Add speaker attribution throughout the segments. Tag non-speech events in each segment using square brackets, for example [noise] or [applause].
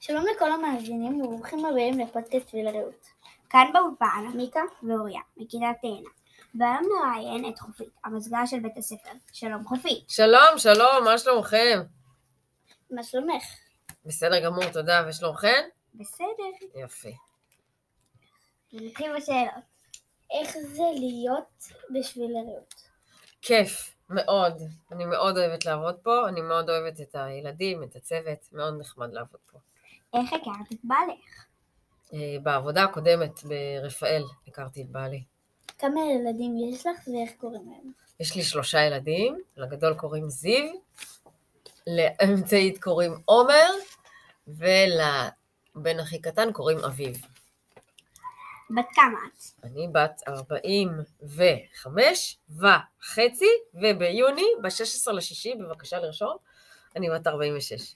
Speaker 1: שלום לכל המאזינים וברוכים הבאים לפודקאסט ולרעות.
Speaker 2: כאן באולפן
Speaker 1: מיקה?
Speaker 2: ואוריה, מכיתת תאנה. והיום נראיין את חופית, המזגה של בית הספר. שלום חופית.
Speaker 3: שלום, שלום, מה שלומכם?
Speaker 1: מה שלומך?
Speaker 3: בסדר גמור, תודה. ושלומכם?
Speaker 2: בסדר.
Speaker 3: יפה.
Speaker 2: נתחיל בשאלות.
Speaker 1: איך זה להיות בשביל הרעות?
Speaker 3: כיף, מאוד. אני מאוד אוהבת לעבוד פה, אני מאוד אוהבת את הילדים, את הצוות, מאוד נחמד לעבוד פה.
Speaker 2: איך הכרת את בעלך?
Speaker 3: אה, בעבודה הקודמת ברפאל הכרתי את בעלי.
Speaker 1: כמה ילדים יש לך ואיך קוראים להם?
Speaker 3: יש לי שלושה ילדים, לגדול קוראים זיו, לאמצעית קוראים עומר, ולבן הכי קטן קוראים אביב.
Speaker 2: בת כמה את?
Speaker 3: אני בת 45 וחצי, וביוני, ב-16 לשישי, בבקשה לרשום, אני בת 46.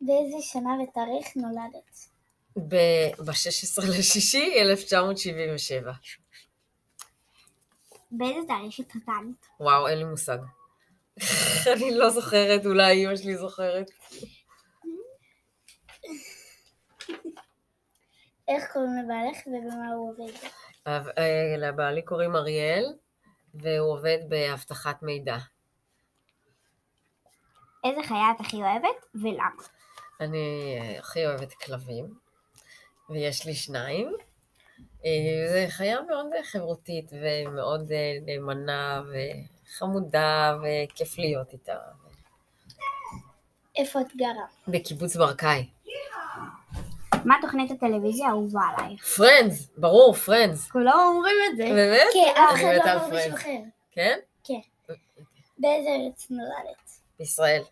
Speaker 1: באיזה שנה ותאריך נולדת?
Speaker 3: ב-16 לשישי, 1977.
Speaker 2: באיזה תאריך התחתנת?
Speaker 3: וואו, אין לי מושג. [laughs] אני לא זוכרת, אולי אמא שלי זוכרת.
Speaker 1: איך קוראים לבעלך ובמה הוא עובד?
Speaker 3: אבל, אה, לבעלי קוראים אריאל, והוא עובד באבטחת מידע.
Speaker 2: איזה חיה את הכי אוהבת ולמה?
Speaker 3: אני אה, הכי אוהבת כלבים, ויש לי שניים. אה, זו חיה מאוד אה, חברותית ומאוד אה, נאמנה וחמודה וכיף להיות איתה.
Speaker 1: איפה את גרה?
Speaker 3: בקיבוץ ברקאי.
Speaker 2: מה תוכנית הטלוויזיה האהובה עלייך?
Speaker 3: פרנדס, ברור, פרנדס.
Speaker 2: כולם אומרים את זה.
Speaker 3: באמת?
Speaker 1: כן, אף
Speaker 3: אני
Speaker 1: אחד
Speaker 3: מתה
Speaker 1: לא
Speaker 3: על
Speaker 1: אמר מישהו
Speaker 3: פרנדס.
Speaker 1: אחר.
Speaker 3: כן?
Speaker 1: באיזה ארץ נולדת?
Speaker 3: בישראל.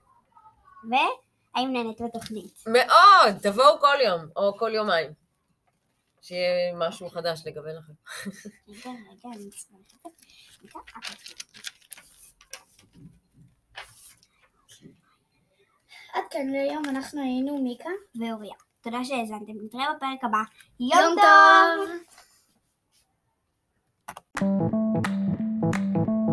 Speaker 2: והאם נהנית בתוכנית?
Speaker 3: מאוד! תבואו כל יום, או כל יומיים. שיהיה משהו חדש לגבי לכם.
Speaker 2: רגע, רגע, אני מצטרפת. רגע, אבל-
Speaker 1: עד כאן להיום אנחנו היינו מיקה.
Speaker 2: ואוריה, תודה שהאזנתם. נתראה בפרק הבא.
Speaker 1: יום טוב!